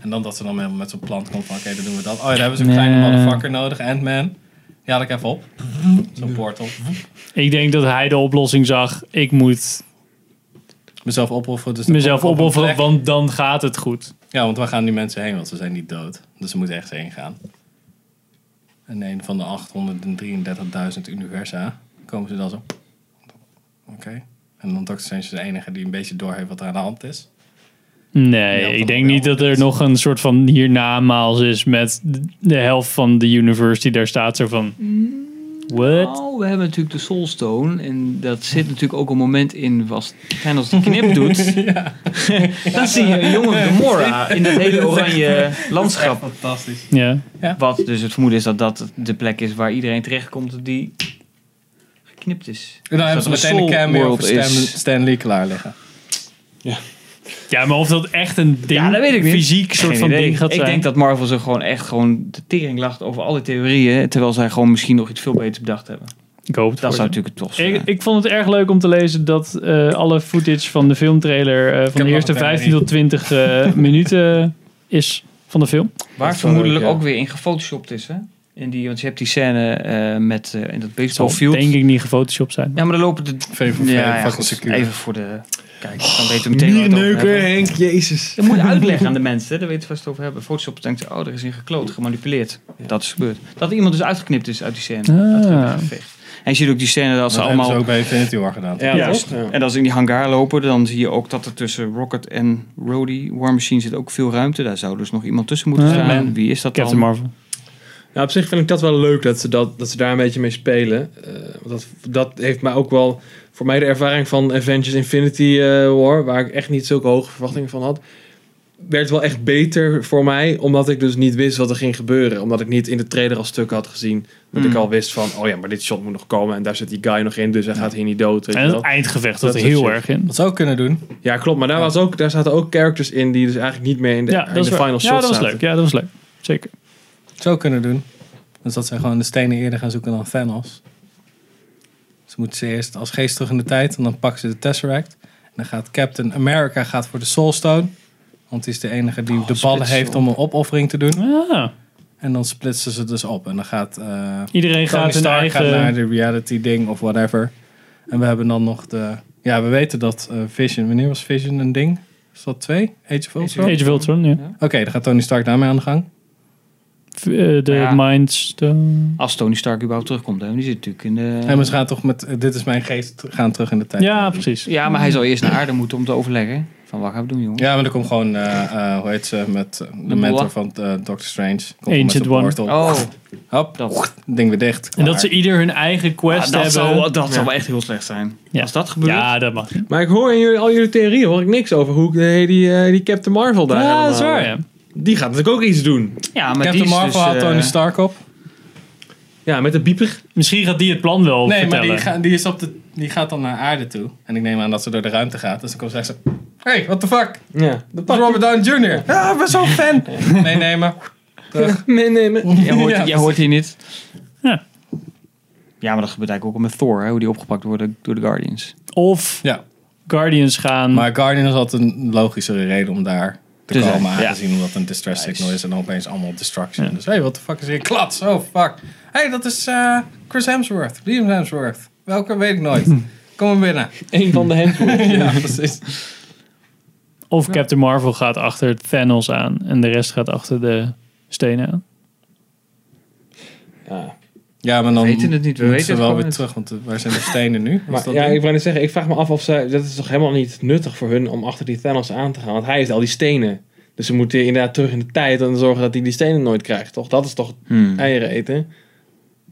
Speaker 4: En dan dat ze dan helemaal met zo'n plan komt van, oké, dan doen we dat. Oh ja, dan hebben ze een
Speaker 3: Nee.
Speaker 4: kleine motherfucker nodig, Ant-Man. Die haal ik even op. Zo'n portal.
Speaker 1: Ik denk dat hij de oplossing zag. Ik moet
Speaker 4: Mezelf opofferen. Dus dan
Speaker 1: mezelf
Speaker 4: kom ik op een
Speaker 1: opofferen,
Speaker 4: plek.
Speaker 1: want dan gaat het goed.
Speaker 4: Ja, want waar gaan die mensen heen? Want ze zijn niet dood. Dus ze moeten ergens heen gaan. En een van de 833.000 universa komen ze dan zo. Oké. En dan Dr. Strange is de enige die een beetje doorheeft wat er aan de hand is. Ja,
Speaker 1: Nee,
Speaker 4: van
Speaker 1: ik denk
Speaker 4: wel.
Speaker 1: niet dat er nog een soort van hiernamaals is met de helft van de universe die daar staat. Zo van, What?
Speaker 3: Nou, we hebben natuurlijk de Soulstone. En dat zit natuurlijk ook een moment in. Als fijn als het knip doet. [laughs] dan zie je een jonge Gamora in dat hele oranje landschap.
Speaker 4: Fantastisch.
Speaker 1: Ja.
Speaker 3: Wat dus het vermoeden is dat dat de plek is waar iedereen terechtkomt die geknipt is. Dus
Speaker 4: En dan hebben
Speaker 3: dat
Speaker 4: ze
Speaker 3: er
Speaker 4: meteen een
Speaker 3: Soul
Speaker 4: cameo
Speaker 3: World
Speaker 4: voor Stan,
Speaker 3: is.
Speaker 4: Stan Lee klaar liggen.
Speaker 1: ja, maar of dat echt een ding,
Speaker 3: Ja, dat weet ik niet.
Speaker 1: fysiek soort
Speaker 3: Geen
Speaker 1: van
Speaker 3: idee.
Speaker 1: ding gaat
Speaker 3: ik
Speaker 1: zijn.
Speaker 3: denk dat Marvel ze gewoon echt gewoon de tering lacht over alle theorieën. Terwijl zij gewoon misschien nog iets veel beters bedacht hebben.
Speaker 1: ik hoop het
Speaker 3: Dat
Speaker 1: voor
Speaker 3: zou
Speaker 1: ze.
Speaker 3: natuurlijk het tofste
Speaker 1: ik,
Speaker 3: zijn.
Speaker 1: ik vond het erg leuk om te lezen dat eh, alle footage van de filmtrailer eh, van
Speaker 4: heb
Speaker 1: de
Speaker 4: nog
Speaker 1: eerste
Speaker 4: een
Speaker 1: 15 tot 20 eh, minuten is van de film.
Speaker 3: Waar
Speaker 4: Dat
Speaker 3: vermoedelijk
Speaker 4: zou ik,
Speaker 3: ook weer in gefotoshopt is, hè? In die, want je hebt die scène eh, met eh, in dat
Speaker 1: Zal
Speaker 3: baseballfield.
Speaker 1: denk ik niet gefotoshopt zijn.
Speaker 3: Ja, maar dan lopen de... Oh,
Speaker 4: VVV,
Speaker 3: ja, ja,
Speaker 4: fucking
Speaker 3: goed,
Speaker 4: secure.
Speaker 3: even voor de... Kijk, dan weten we meteen waar we het over hebben.
Speaker 7: Henk, jezus.
Speaker 3: Dat
Speaker 1: [laughs]
Speaker 3: moet je uitleggen aan de mensen, hè. daar weten we vast over hebben. Photoshop denkt, oh, er is in gekloot, gemanipuleerd. Dat is gebeurd. Dat iemand dus uitgeknipt is uit die scène.
Speaker 1: Ah.
Speaker 3: Geveegd. En je ziet ook die scène dat ze
Speaker 4: Dat hebben
Speaker 3: allemaal...
Speaker 4: ze ook bij Infinity War gedaan.
Speaker 7: Ja,
Speaker 1: Ja,
Speaker 7: toch? Ja.
Speaker 3: En als ze in die hangar lopen, dan zie je ook dat er tussen Rocket en Rhodey, War Machine, zit ook veel ruimte. Daar zou dus nog iemand tussen moeten
Speaker 1: Ja.
Speaker 3: staan.
Speaker 1: Man.
Speaker 3: Wie is dat dan?
Speaker 1: Captain Marvel.
Speaker 7: Nou, op zich vind ik dat wel leuk dat ze, dat, dat ze daar een beetje mee spelen. Eh, want dat, dat heeft mij ook wel voor mij de ervaring van Avengers Infinity eh, War, waar ik echt niet zulke hoge verwachtingen van had, werd wel echt beter voor mij, omdat ik dus niet wist wat er ging gebeuren. Omdat ik niet in de trailer al stukken had gezien, dat
Speaker 3: Mm.
Speaker 1: Hmm.
Speaker 7: ik al wist van, oh ja, maar dit shot moet nog komen en daar zit die guy nog in, dus hij gaat hier niet dood. Weet je
Speaker 1: En
Speaker 7: wel.
Speaker 1: het eindgevecht zat
Speaker 7: Dat
Speaker 1: er
Speaker 7: is
Speaker 1: heel
Speaker 7: shit.
Speaker 1: erg in.
Speaker 4: Wat ze ook kunnen doen,
Speaker 7: Ja, klopt, maar daar, was ook, daar zaten ook characters in die dus eigenlijk niet meer in de,
Speaker 1: Ja,
Speaker 7: in
Speaker 1: dat, is
Speaker 7: de
Speaker 1: waar.
Speaker 7: final shot
Speaker 1: ja, dat was
Speaker 7: zaten.
Speaker 1: leuk. Ja, dat was leuk. Zeker.
Speaker 4: zo kunnen doen. Dus dat zij gewoon de stenen eerder gaan zoeken dan Thanos. Ze moeten ze eerst als geest terug in de tijd en dan pakken ze de Tesseract. En dan gaat Captain America gaat voor de Soulstone. Want die is de enige
Speaker 3: Oh,
Speaker 4: die de ballen heeft om een opoffering te doen.
Speaker 1: Ah,
Speaker 4: En dan splitsen ze dus op. En dan gaat eh,
Speaker 1: iedereen
Speaker 4: Tony
Speaker 1: gaat hun
Speaker 4: Stark gaat
Speaker 1: eigen...
Speaker 4: naar de reality ding of whatever. En we hebben dan nog de... Ja, we weten dat eh, Vision... Wanneer was Vision een ding? Is dat twee? Age of Ultron? Oké,
Speaker 1: Age of Ultron, ja.
Speaker 4: dan gaat Tony Stark daarmee aan de gang.
Speaker 1: V- eh, de
Speaker 3: Ja.
Speaker 1: Mind Stone.
Speaker 3: Als Tony Stark überhaupt terugkomt, hè? die zit natuurlijk in de...
Speaker 4: En we gaan toch met... eh, dit is mijn geest, gaan terug in de tijd.
Speaker 1: Ja, precies.
Speaker 3: Ja, maar hij zou eerst naar aarde moeten om te overleggen. Van wat gaan we doen, jongen?
Speaker 4: Ja, maar dan komt gewoon, eh, eh, hoe heet ze, met eh, de
Speaker 3: De
Speaker 4: mentor
Speaker 3: boa.
Speaker 4: van eh, Doctor Strange. Komt gewoon
Speaker 1: Ancient
Speaker 4: met zijn
Speaker 1: One.
Speaker 4: portal.
Speaker 3: Oh,
Speaker 4: Hop,
Speaker 3: dat,
Speaker 4: ding weer dicht.
Speaker 1: En
Speaker 4: Klaar.
Speaker 1: dat ze ieder hun eigen
Speaker 3: ah,
Speaker 1: quest
Speaker 3: dat,
Speaker 1: hebben.
Speaker 3: zou, dat zou wel echt heel slecht zijn.
Speaker 1: Ja.
Speaker 3: Als dat gebeurt.
Speaker 1: ja, dat
Speaker 4: Ah,
Speaker 1: mag.
Speaker 7: Maar ik hoor in jullie, al jullie theorieën hoor ik niks over hoe eh, die, eh, die Captain Marvel daar
Speaker 1: Ja, dat Ah, is
Speaker 7: helemaal-
Speaker 1: waar. Ja.
Speaker 7: Die gaat natuurlijk ook iets doen.
Speaker 3: Ja, maar die
Speaker 4: Captain
Speaker 3: is
Speaker 4: Marvel
Speaker 3: dus,
Speaker 4: haalt
Speaker 3: eh,
Speaker 4: Tony Stark op.
Speaker 7: Ja, met de bieper.
Speaker 1: Misschien gaat die het plan wel
Speaker 4: Nee, maar
Speaker 1: vertellen.
Speaker 4: die, ga- die, is op de, die gaat dan naar aarde toe. En ik neem aan dat ze door de ruimte gaat. Dus dan komt ze echt zo... Hey, what the fuck?
Speaker 7: Ja.
Speaker 4: Dat is Robert Downey
Speaker 3: [laughs]
Speaker 4: Jr. Ja, [laughs] ik ben zo'n fan. nee, nee, maar... Terug.
Speaker 7: Nee, nee, nee.
Speaker 3: Jij hoort,
Speaker 4: Ja,
Speaker 3: jij hoort hier niet.
Speaker 1: Ja.
Speaker 3: Ja, maar dat gebeurt eigenlijk ook al met Thor, hè, hoe die opgepakt worden door de Guardians.
Speaker 1: Of
Speaker 4: Ja.
Speaker 1: Guardians gaan.
Speaker 4: Maar Guardians had een logischere reden om daar te
Speaker 3: Te zijn,
Speaker 4: komen.
Speaker 3: ja.
Speaker 4: Aangezien omdat het een distress signal is en dan opeens allemaal destruction. Dus hey, wat de fuck is hier? Klats, oh fuck. hey, dat is eh, Chris Hemsworth. Liam Hemsworth. Welke weet ik [laughs] nooit. Kom maar binnen.
Speaker 7: Eén van de [laughs] hem.
Speaker 4: ja, precies.
Speaker 1: Of Captain Marvel gaat achter Thanos aan. En de rest gaat achter de stenen [laughs] aan.
Speaker 7: Ja.
Speaker 4: Ja, maar dan
Speaker 3: We weten het niet, we
Speaker 4: moeten
Speaker 3: weten
Speaker 4: ze
Speaker 3: het
Speaker 4: wel
Speaker 3: gewoon
Speaker 4: weer
Speaker 3: niet.
Speaker 4: terug. Want eh, waar zijn de stenen nu? Is
Speaker 7: Maar,
Speaker 4: dat
Speaker 7: ja,
Speaker 4: ding?
Speaker 7: ik wou net zeggen, ik vraag me af of zij... Dat is toch helemaal niet nuttig voor hun om achter die Thanos aan te gaan. Want hij heeft al die stenen. Dus ze moeten inderdaad terug in de tijd en zorgen dat hij die stenen nooit krijgt, toch? Dat is toch
Speaker 3: Hmm.
Speaker 7: eieren eten?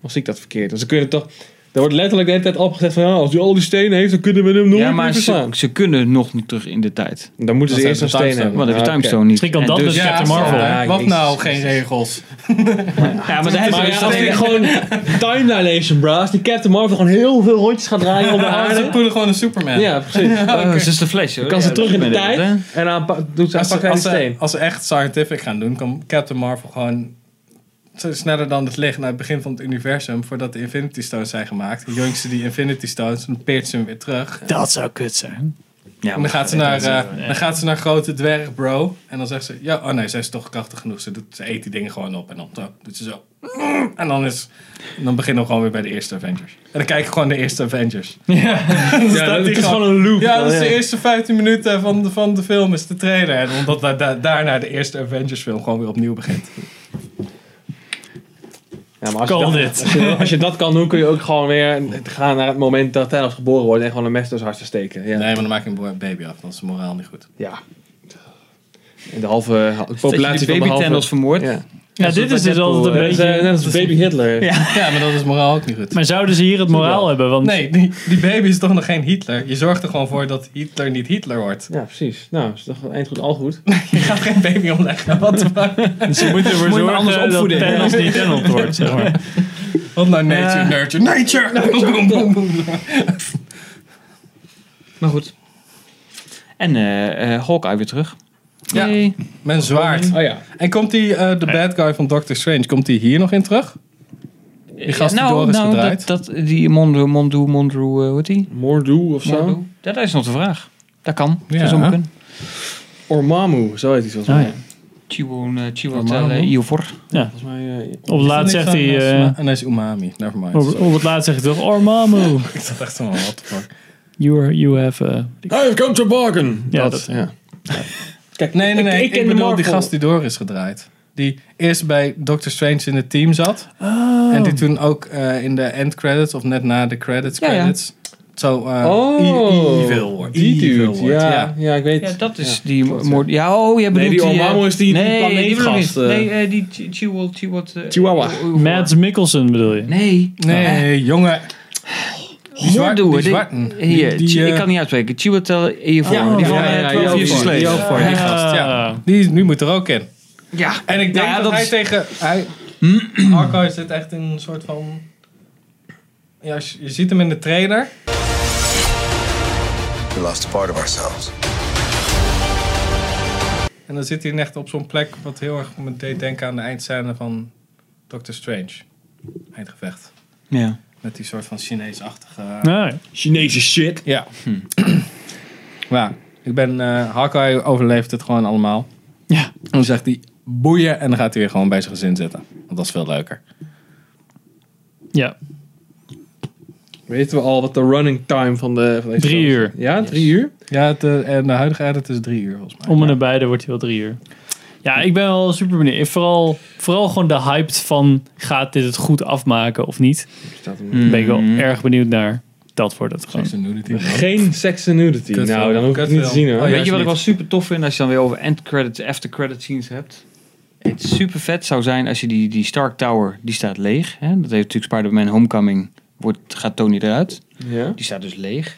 Speaker 7: Of zie ik dat verkeerd? Want ze kunnen toch... Er wordt letterlijk de hele tijd opgezet van... Ja, als hij al die stenen heeft, dan kunnen we hem nooit
Speaker 3: Ja,
Speaker 7: meer
Speaker 3: maar ze,
Speaker 7: verslaan.
Speaker 3: ze kunnen nog niet terug in de tijd.
Speaker 7: Dan moeten ze
Speaker 4: Dat
Speaker 7: eerst een
Speaker 4: zijn de
Speaker 7: steen
Speaker 4: timestone.
Speaker 7: hebben.
Speaker 3: Want dan heb je
Speaker 7: Ah, oké.
Speaker 3: Timestone niet.
Speaker 1: Misschien kan
Speaker 3: En
Speaker 1: dat dus-
Speaker 4: Ja,
Speaker 1: Captain Marvel.
Speaker 4: ja, Wat
Speaker 7: Jezus.
Speaker 4: nou, geen regels.
Speaker 3: Ja, maar daar hebben
Speaker 7: Maar
Speaker 3: ze
Speaker 7: ja, als
Speaker 3: [laughs] dus
Speaker 7: ik
Speaker 3: tegen-
Speaker 7: gewoon time dilation, bro. Als die Captain Marvel gewoon heel veel rondjes gaat draaien om de
Speaker 4: Ze
Speaker 7: aarde.
Speaker 4: poelen gewoon een Superman.
Speaker 7: Ja, precies.
Speaker 3: Oh, ze is de fles, hoor.
Speaker 7: Dan kan ze
Speaker 3: Ja,
Speaker 7: terug in de
Speaker 3: dat
Speaker 7: tijd
Speaker 3: bedoel ik, hè.
Speaker 7: en dan pa- doet ze,
Speaker 4: Als
Speaker 7: pakt
Speaker 4: ze,
Speaker 7: hij die
Speaker 4: als, ze,
Speaker 7: steen.
Speaker 4: als ze echt scientific gaan doen, kan Captain Marvel gewoon zo sneller dan het licht naar het begin van het universum, voordat de Infinity Stones zijn gemaakt. Jongt ze die Infinity Stones en peert ze hem weer terug.
Speaker 1: Dat zou kut zijn.
Speaker 3: Ja,
Speaker 4: En dan
Speaker 3: maar
Speaker 4: gaat, ze naar, eh, dan gaat ze naar grote dwerg, bro. En dan zegt ze, ja, oh nee, zij is toch krachtig genoeg. Ze, doet, ze eet die dingen gewoon op en dan zo, doet ze zo. En dan, is, dan beginnen we gewoon weer bij de eerste Avengers. En dan kijken we gewoon de eerste Avengers. Ja,
Speaker 7: dat is gewoon een loop.
Speaker 4: Ja, dat is
Speaker 7: Ja.
Speaker 4: de eerste 15 minuten van de, van de film, is de trailer. En omdat da- da- daarna de eerste Avengers film gewoon weer opnieuw begint.
Speaker 7: Ja, maar als,
Speaker 1: Call
Speaker 7: je dat,
Speaker 1: dit.
Speaker 7: als, je, als je dat kan doen, kun je ook gewoon weer gaan naar het moment dat Thanos geboren wordt en gewoon een mes door zijn hart te steken. Ja.
Speaker 4: Nee, maar dan maak je een bo- baby af. Dat is moraal niet goed.
Speaker 7: ja. En de halve de
Speaker 3: Dat je
Speaker 7: populatie
Speaker 3: die
Speaker 7: van de
Speaker 3: baby
Speaker 7: halve...
Speaker 3: [laughs] Thanos vermoord.
Speaker 7: Ja.
Speaker 1: Ja, dit is dus altijd een
Speaker 7: Dat is, eh,
Speaker 1: beetje...
Speaker 7: net als Baby Hitler.
Speaker 1: Ja.
Speaker 4: Ja, maar dat is moraal ook niet goed.
Speaker 1: Maar zouden ze hier het moraal hebben? Want
Speaker 4: Nee, die, die baby is toch nog geen Hitler. Je zorgt er gewoon voor dat Hitler niet Hitler wordt.
Speaker 7: Ja, precies. Nou, is toch eind goed, al goed.
Speaker 4: Je gaat geen baby omleggen. Wat de fuck?
Speaker 1: ze moeten ervoor
Speaker 4: Moet je maar
Speaker 1: zorgen
Speaker 4: anders opvoeden.
Speaker 1: dat Thanos
Speaker 4: [laughs]
Speaker 1: niet Tennant wordt, zeg maar.
Speaker 4: Wat nou nature, nurture, nature! Boom, boom, boom.
Speaker 7: Maar Nou goed.
Speaker 3: En eh eh Hawkeye weer terug.
Speaker 4: Ja.
Speaker 3: Yay.
Speaker 4: Mijn zwaard.
Speaker 7: Oh ja.
Speaker 4: En komt die, eh, de bad guy van Doctor Strange, komt die hier nog in terug? Die gast die
Speaker 3: nou,
Speaker 4: door is
Speaker 3: nou,
Speaker 4: gedraaid.
Speaker 3: Dat, dat, die Mondu, Mondu, Mondu, eh, hoe heet die?
Speaker 7: Mordu of zo.
Speaker 3: Mondu? Dat is nog de vraag. Dat kan.
Speaker 4: Ja.
Speaker 3: Dat zou maar kunnen.
Speaker 7: Ormammu, zo heet hij volgens
Speaker 1: Ah,
Speaker 7: mij.
Speaker 1: ja.
Speaker 3: Chiwon, eh, Chiwon,
Speaker 7: Normaal,
Speaker 3: eh,
Speaker 7: man.
Speaker 3: Iovor.
Speaker 7: Volgens mij eh,
Speaker 1: Op het laatst zegt hij... eh,
Speaker 4: En hij Oh. is umami, never mind.
Speaker 1: op, op het laatst zegt hij toch... Ormammu,
Speaker 4: Ik dacht echt van, what the fuck.
Speaker 1: you, are- you have... eh,
Speaker 7: I have come to bargain.
Speaker 1: Ja,
Speaker 7: Ja,
Speaker 1: dat-
Speaker 7: dat, ja.
Speaker 4: Kijk, nee, nee, nee.
Speaker 7: ik ken
Speaker 4: Ik,
Speaker 7: de
Speaker 4: bedoel die
Speaker 7: Marvel.
Speaker 4: gast die door is gedraaid. Die eerst bij Doctor Strange in het team zat.
Speaker 7: Oh.
Speaker 4: En die toen ook eh, in de end credits, of net na de credits,
Speaker 3: Ja, ja.
Speaker 4: credits. Zo eh
Speaker 7: Oh,
Speaker 4: e- evil wordt.
Speaker 7: Die
Speaker 4: Evil
Speaker 7: dude,
Speaker 4: wordt,
Speaker 7: ja, ja. ik weet.
Speaker 3: Ja, dat is
Speaker 7: Ja.
Speaker 3: die moord. Ja, oh, jij bedoelt
Speaker 7: die
Speaker 3: eh,
Speaker 7: Ormammu is die- die
Speaker 3: nee,
Speaker 7: planeetgast,
Speaker 3: bedoel ik niet.
Speaker 7: eh.
Speaker 3: Nee, eh, die Chi- Chiwol, Chiwot... eh,
Speaker 7: Chihuahua.
Speaker 3: Iovor.
Speaker 1: Mads Mikkelsen bedoel je?
Speaker 3: Nee.
Speaker 4: Nee, jongen. Die zwart-
Speaker 3: Mondu,
Speaker 4: die
Speaker 3: die-
Speaker 4: zwarten. Die-
Speaker 3: Hier,
Speaker 4: die,
Speaker 3: Chi-
Speaker 4: eh,
Speaker 3: ik kan niet uitspreken. Chiwot, Iovor.
Speaker 7: Ja,
Speaker 3: Die
Speaker 7: ja,
Speaker 3: van
Speaker 7: ja,
Speaker 3: eh,
Speaker 7: ja,
Speaker 3: 12 Years a
Speaker 7: Iovor.
Speaker 3: Slave.
Speaker 4: Die ook voor die
Speaker 1: Ah.
Speaker 4: gast, ja. Die nu moet er ook in.
Speaker 3: Ja.
Speaker 4: En
Speaker 7: Nou
Speaker 4: ik denk
Speaker 3: Ja,
Speaker 4: dat,
Speaker 3: dat
Speaker 4: hij
Speaker 3: is-
Speaker 4: tegen...
Speaker 7: [clears throat]
Speaker 4: Hij, Hawkeye zit echt in een soort van... Ja, als je, je ziet hem in de trailer.
Speaker 6: We lost a part of ourselves.
Speaker 4: En dan zit hij echt op zo'n plek wat heel erg me deed denken aan de eindscène van Doctor Strange. Eindgevecht.
Speaker 3: Ja.
Speaker 4: Met die soort van Chinees-achtige...
Speaker 1: Nee.
Speaker 7: Chinese shit.
Speaker 4: Ja. [clears throat] ja. Ik ben... eh Hawkeye overleeft het gewoon allemaal.
Speaker 1: Ja.
Speaker 4: En dan zegt hij boeien en dan gaat hij weer gewoon bij zijn gezin zitten. Want dat is veel leuker.
Speaker 1: Ja.
Speaker 7: Weten we al wat de running time van, de, van deze
Speaker 1: Drie
Speaker 7: film is?
Speaker 1: uur.
Speaker 7: Ja, drie uur.
Speaker 4: Ja, het, eh, en de huidige edit is drie uur volgens mij.
Speaker 1: Om en nabij, dan wordt hij wel drie uur. Ja, ik ben wel super benieuwd. Ik Vooral, vooral gewoon de hype van gaat dit het goed afmaken of niet.
Speaker 7: Staat er
Speaker 1: Ben ik wel erg benieuwd naar. Dat wordt het gewoon.
Speaker 4: Sex and nudity, man.
Speaker 7: Geen sex and nudity.
Speaker 4: Kutfilm.
Speaker 7: Nou, dan hoef ik het niet te
Speaker 4: Kutfilm.
Speaker 7: zien hoor.
Speaker 4: Oh, ja.
Speaker 3: Weet je wat ik
Speaker 4: niet.
Speaker 3: wel super tof vind als je dan weer over end credits, after credit scenes hebt? Het super vet zou zijn als je die, die Stark Tower, die staat leeg. Hè? Dat heeft natuurlijk Spider-Man Homecoming, wordt, gaat Tony eruit.
Speaker 7: Ja.
Speaker 3: Die staat dus leeg.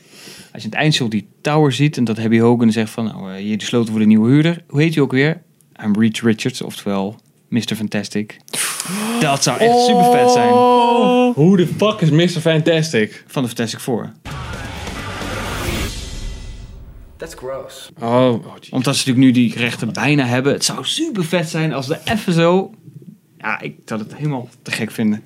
Speaker 3: Als je in het eindshot die tower ziet en dat Happy Hogan zegt van, nou, eh, hier de sleutel voor de nieuwe huurder. Hoe heet hij ook weer? I'm Reed Richards, oftewel Mr. Fantastic. Dat zou echt
Speaker 1: Oh.
Speaker 3: super vet zijn.
Speaker 7: Hoe de fuck is Mr. Fantastic?
Speaker 3: Van de Fantastic Four.
Speaker 7: Oh, oh gee.
Speaker 3: Omdat ze natuurlijk nu die rechten bijna hebben. Het zou super vet zijn als ze even zo... Ja, ik zou het helemaal te gek vinden.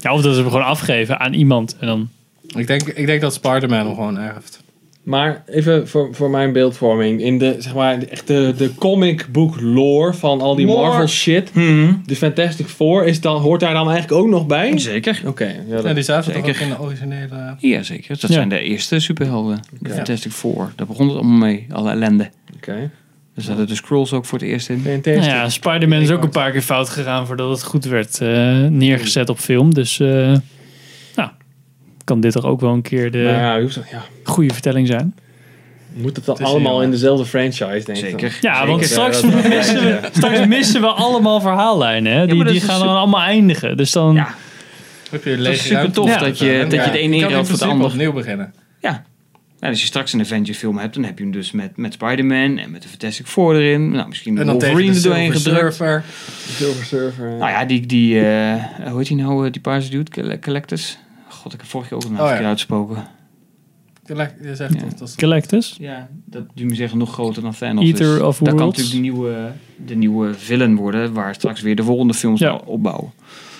Speaker 1: Ja, of dat ze hem gewoon afgeven aan iemand. En dan,
Speaker 4: Ik denk, ik denk dat Spider-Man hem gewoon erft.
Speaker 7: Maar even voor, voor mijn beeldvorming. In de, zeg maar, de- echt de, de comic book lore van al die
Speaker 4: Lore.
Speaker 7: Marvel shit.
Speaker 3: Hm.
Speaker 1: Mhm.
Speaker 7: De Fantastic Four is dan, hoort daar dan eigenlijk ook nog bij? Oké.
Speaker 3: Zeker.
Speaker 7: ja, dat-
Speaker 4: Ja, die zaten toch
Speaker 3: Zeker.
Speaker 4: ook in de originele...
Speaker 3: Ja, zeker. Dat
Speaker 1: Ja.
Speaker 3: zijn de eerste superhelden. De Fantastic Four. Daar begon het allemaal mee. Alle ellende. Dus
Speaker 7: Oké.
Speaker 3: Daar zaten de Skrulls ook voor het eerst in.
Speaker 1: nou
Speaker 7: Fantastic.
Speaker 1: ja, Spider-Man is ook een paar keer fout gegaan voordat het goed werd eh, neergezet op film. Dus eh, nou, kan dit toch ook wel een keer de
Speaker 7: Maar Nou ja, je hoeft- ja,
Speaker 1: goede vertelling zijn.
Speaker 7: moet het dan
Speaker 4: is
Speaker 7: allemaal
Speaker 4: heel-
Speaker 7: in dezelfde franchise, denk ik dan?
Speaker 3: Zeker.
Speaker 1: Ja,
Speaker 3: Zeker.
Speaker 1: want straks
Speaker 7: dat- dat-
Speaker 1: missen, we, [laughs] straks missen we allemaal verhaallijnen. Hè? Die,
Speaker 3: maar dat
Speaker 1: die
Speaker 3: is
Speaker 1: gaan
Speaker 3: een
Speaker 1: dan allemaal eindigen. Dus dan...
Speaker 3: Ja.
Speaker 4: Heb je
Speaker 3: Dat is super tof
Speaker 1: Ja,
Speaker 3: dat, je, dat je de ene inruilt voor de ander.
Speaker 4: opnieuw beginnen.
Speaker 3: Ja. Nou, als je straks een Avenger film hebt, dan heb je hem dus met, met Spider-Man en met de Fantastic Four erin. Nou, misschien de
Speaker 4: En dan tegen
Speaker 3: Wolverine
Speaker 4: de
Speaker 3: er doorheen
Speaker 4: Silver
Speaker 3: gedrukt.
Speaker 4: Surfer.
Speaker 7: Silver Surfer.
Speaker 3: Nou ja, die, die eh, hoe heet die nou, eh, die paarse dude, Coll- Collectus? God, ik heb vorige keer ook een naam
Speaker 4: Oh, ja.
Speaker 3: verkeerd uitgesproken.
Speaker 4: Je zegt
Speaker 3: Ja.
Speaker 4: dat, dat is-
Speaker 1: Galactus?
Speaker 3: Ja, dat die me zeggen nog groter dan Thanos
Speaker 1: Eater
Speaker 3: is.
Speaker 1: of
Speaker 3: Dat kan
Speaker 1: worlds.
Speaker 3: natuurlijk de nieuwe, de nieuwe villain worden, waar straks weer de volgende films
Speaker 1: Ja.
Speaker 3: op- opbouwen.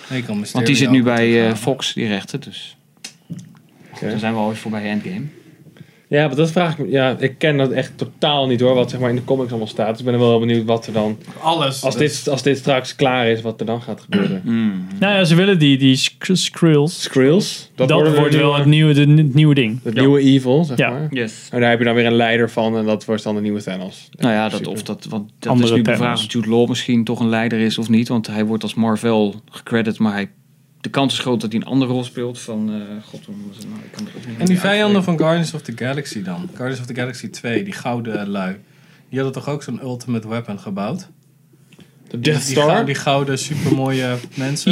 Speaker 4: Nee, ik kan Mysterio
Speaker 3: Want die zit nu
Speaker 4: ook
Speaker 3: bij
Speaker 4: tegen-
Speaker 3: eh, Fox, die rechten, dus dan zijn we alweer voorbij Endgame.
Speaker 7: Ja, maar dat vraag ik me. Ja, ik ken dat echt totaal niet hoor, wat zeg maar in de comics allemaal staat. Dus ik ben er wel benieuwd wat er dan.
Speaker 4: Alles.
Speaker 7: Als
Speaker 4: Dat-
Speaker 7: dit, als dit straks klaar is, wat er dan gaat
Speaker 3: [clears throat]
Speaker 7: gebeuren.
Speaker 3: Mm.
Speaker 1: Nou ja, ze willen die, die Sk- Skrills.
Speaker 7: Skrills.
Speaker 1: Dat,
Speaker 7: worden de
Speaker 1: wordt wel
Speaker 7: nieuwe-
Speaker 1: het nieuwe, de, het nieuwe ding.
Speaker 7: Het nieuwe evil, zeg
Speaker 1: Ja.
Speaker 7: maar.
Speaker 3: Yes.
Speaker 7: En daar heb je dan weer een leider van en dat wordt dan de nieuwe Thanos.
Speaker 3: Nou ja, dat,
Speaker 7: Super.
Speaker 3: of dat, want dat
Speaker 1: Andere
Speaker 3: is nu de
Speaker 1: Thanos.
Speaker 3: vraag of Jude Law misschien toch een leider is of niet. Want hij wordt als Marvel gecredit, maar hij, de kans is groot dat hij een andere rol speelt van... eh, God, hoe was het nou? Ik kan het ook niet
Speaker 4: En die
Speaker 3: meer
Speaker 4: vijanden van Guardians of the Galaxy dan? Guardians of the Galaxy 2, die gouden lui. Die hadden toch ook zo'n ultimate weapon gebouwd?
Speaker 7: De Death
Speaker 4: Die, gou-
Speaker 7: Star.
Speaker 4: die gouden supermooie mensen.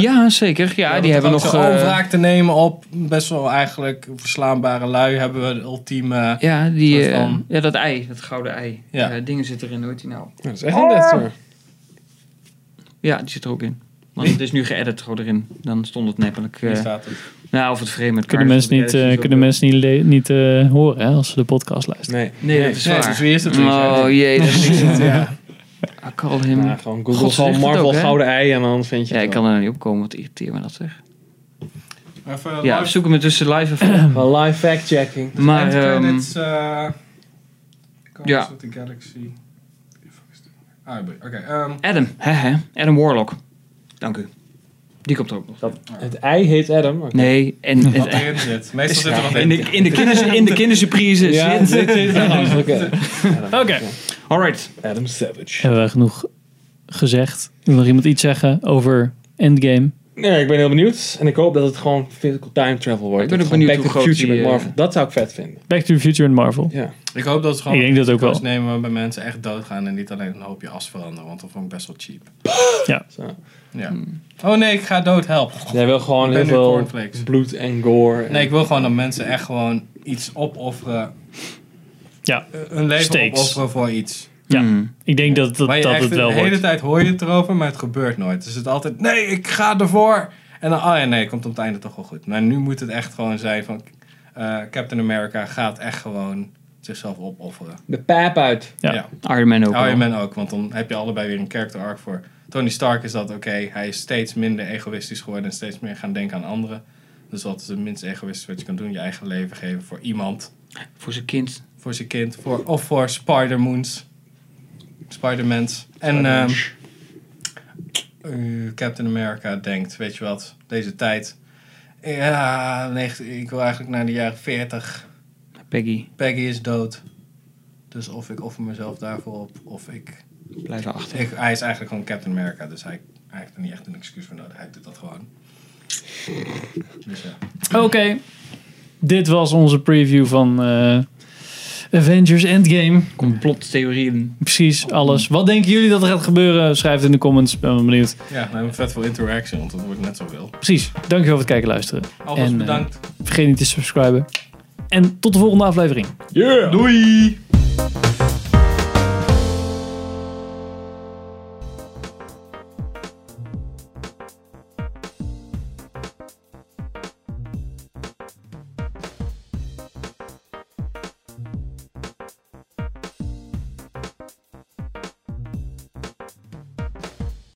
Speaker 3: [laughs] Ja, zeker. Ja, die hebben nog...
Speaker 4: Om
Speaker 3: eh,
Speaker 4: wraak te nemen op best wel eigenlijk verslaanbare lui hebben we de ultieme...
Speaker 3: ja, die,
Speaker 4: soort
Speaker 3: eh,
Speaker 4: van-
Speaker 3: ja, dat ei. Dat gouden ei.
Speaker 4: Ja.
Speaker 3: Eh, dingen zitten erin, hoort die nou?
Speaker 7: Ja, dat is echt een Death Star.
Speaker 3: Ja, die zit er ook in. Want het is nu geëdit gewoon erin. Dan stond het namelijk... eh,
Speaker 4: Hier staat het.
Speaker 3: nou, of het frame het
Speaker 1: Kunnen mensen niet, eh, kunnen mensen niet, le- niet eh, horen hè, als ze de podcast luisteren.
Speaker 7: Nee.
Speaker 3: Nee, dat is
Speaker 4: Nee,
Speaker 3: waar.
Speaker 4: dus wie is het?
Speaker 3: Oh jee, dat is [laughs]
Speaker 4: Ja.
Speaker 3: I call him.
Speaker 7: Ja, gewoon Google
Speaker 3: God, ze
Speaker 7: gewoon
Speaker 3: zegt het
Speaker 7: Marvel
Speaker 3: ook, hè?
Speaker 7: gouden ei en dan vind je
Speaker 3: Ja, ik
Speaker 7: het
Speaker 3: kan er niet op komen, wat irriteert me dat zeg.
Speaker 4: Even
Speaker 3: Ja,
Speaker 4: ja,
Speaker 3: zoek hem tussen live
Speaker 7: [clears throat]
Speaker 3: even.
Speaker 7: wel. Wel live fact checking.
Speaker 3: maar ehm ja.
Speaker 4: ja. eh, the Galaxy. Ah, oké. ehm,
Speaker 3: Adam, hè, hè? Adam Warlock. Dank u. Die komt er ook nog.
Speaker 7: Het ei heet Adam. maar-
Speaker 3: Nee, en,
Speaker 4: wat
Speaker 3: en-
Speaker 4: erin zit. Meestal zit er wat
Speaker 3: in,
Speaker 4: in.
Speaker 3: de, in, de kinders, in de kindersurprise
Speaker 7: Ja,
Speaker 3: zit...
Speaker 7: dit is anders. Oké.
Speaker 1: Oké.
Speaker 3: Alright.
Speaker 7: Adam Savage.
Speaker 1: Hebben we genoeg gezegd? Wil nog iemand iets zeggen over Endgame?
Speaker 7: Nee, ik ben heel benieuwd. En ik hoop dat het gewoon physical time travel wordt.
Speaker 3: Ik ben
Speaker 7: Dat
Speaker 3: ook
Speaker 7: het gewoon
Speaker 3: benieuwd
Speaker 7: Back
Speaker 3: hoe
Speaker 7: to the
Speaker 3: groot
Speaker 7: Future
Speaker 3: die,
Speaker 7: met
Speaker 3: eh,
Speaker 7: Marvel. Dat zou ik vet vinden.
Speaker 1: Back to the Future en Marvel.
Speaker 7: Ja.
Speaker 4: Ik hoop dat ze gewoon
Speaker 1: Ik denk dat ook wel.
Speaker 4: risico's nemen waarbij mensen echt doodgaan en niet alleen een hoopje as veranderen, want dat vond ik best wel cheap.
Speaker 1: Ja.
Speaker 7: Zo.
Speaker 4: Ja. Oh nee, ik ga dood, help.
Speaker 7: Jij wil gewoon
Speaker 4: Ik
Speaker 7: heel
Speaker 4: ben nu
Speaker 7: veel
Speaker 4: cornflakes.
Speaker 7: bloed en gore. en-
Speaker 4: Nee, ik wil gewoon dat mensen echt gewoon iets opofferen.
Speaker 1: Ja.
Speaker 4: eh, Hun leven
Speaker 1: Stakes.
Speaker 4: opofferen voor iets.
Speaker 1: Ja.
Speaker 3: Mm.
Speaker 1: Ik denk dat, dat,
Speaker 4: maar je
Speaker 1: dat
Speaker 4: echt
Speaker 1: het
Speaker 4: de
Speaker 1: wel
Speaker 4: hele
Speaker 1: wordt.
Speaker 4: tijd hoor je het erover, maar het gebeurt nooit. Dus het altijd, nee, ik ga ervoor. En dan, oh ja, nee, komt op het einde toch wel goed. Maar nu moet het echt gewoon zijn van... eh, Captain America gaat echt gewoon zichzelf opofferen.
Speaker 7: De pijp uit.
Speaker 1: Ja.
Speaker 3: Iron Man ook
Speaker 4: Hou je
Speaker 3: wel.
Speaker 4: men ook, want dan heb je allebei weer een character arc voor. Tony Stark is dat oké. Hij is steeds minder egoïstisch geworden en steeds meer gaan denken aan anderen. Dus wat is het minst egoïstisch wat je kan doen? Je eigen leven geven voor iemand,
Speaker 3: Voor zijn kind.
Speaker 4: voor zijn kind, voor, of voor Spider-Moons. Spider-Mans. En ehm, eh, Captain America denkt, weet je wat, deze tijd. Ja, negen- ik wil eigenlijk naar de jaren 40.
Speaker 3: Peggy,
Speaker 4: Peggy is dood. Dus of ik offer mezelf daarvoor op, of ik
Speaker 3: blijf achter.
Speaker 4: ik, hij is eigenlijk gewoon Captain America, dus hij, hij heeft er niet echt een excuus voor nodig. Hij doet dat gewoon. Dus ja.
Speaker 1: Oké. Dit was onze preview van eh, Avengers Endgame.
Speaker 3: Complottheorieën.
Speaker 1: Precies, alles. Wat denken jullie dat er gaat gebeuren? Schrijf het in de comments. Ben wel benieuwd.
Speaker 4: ja, we hebben vet veel interaction, want dat wordt net zoveel.
Speaker 1: Precies. Dankjewel voor het kijken en luisteren.
Speaker 4: Alvast
Speaker 1: En, eh,
Speaker 4: bedankt.
Speaker 1: Vergeet niet te subscriben. En tot de volgende aflevering.
Speaker 7: Yeah!
Speaker 4: Doei!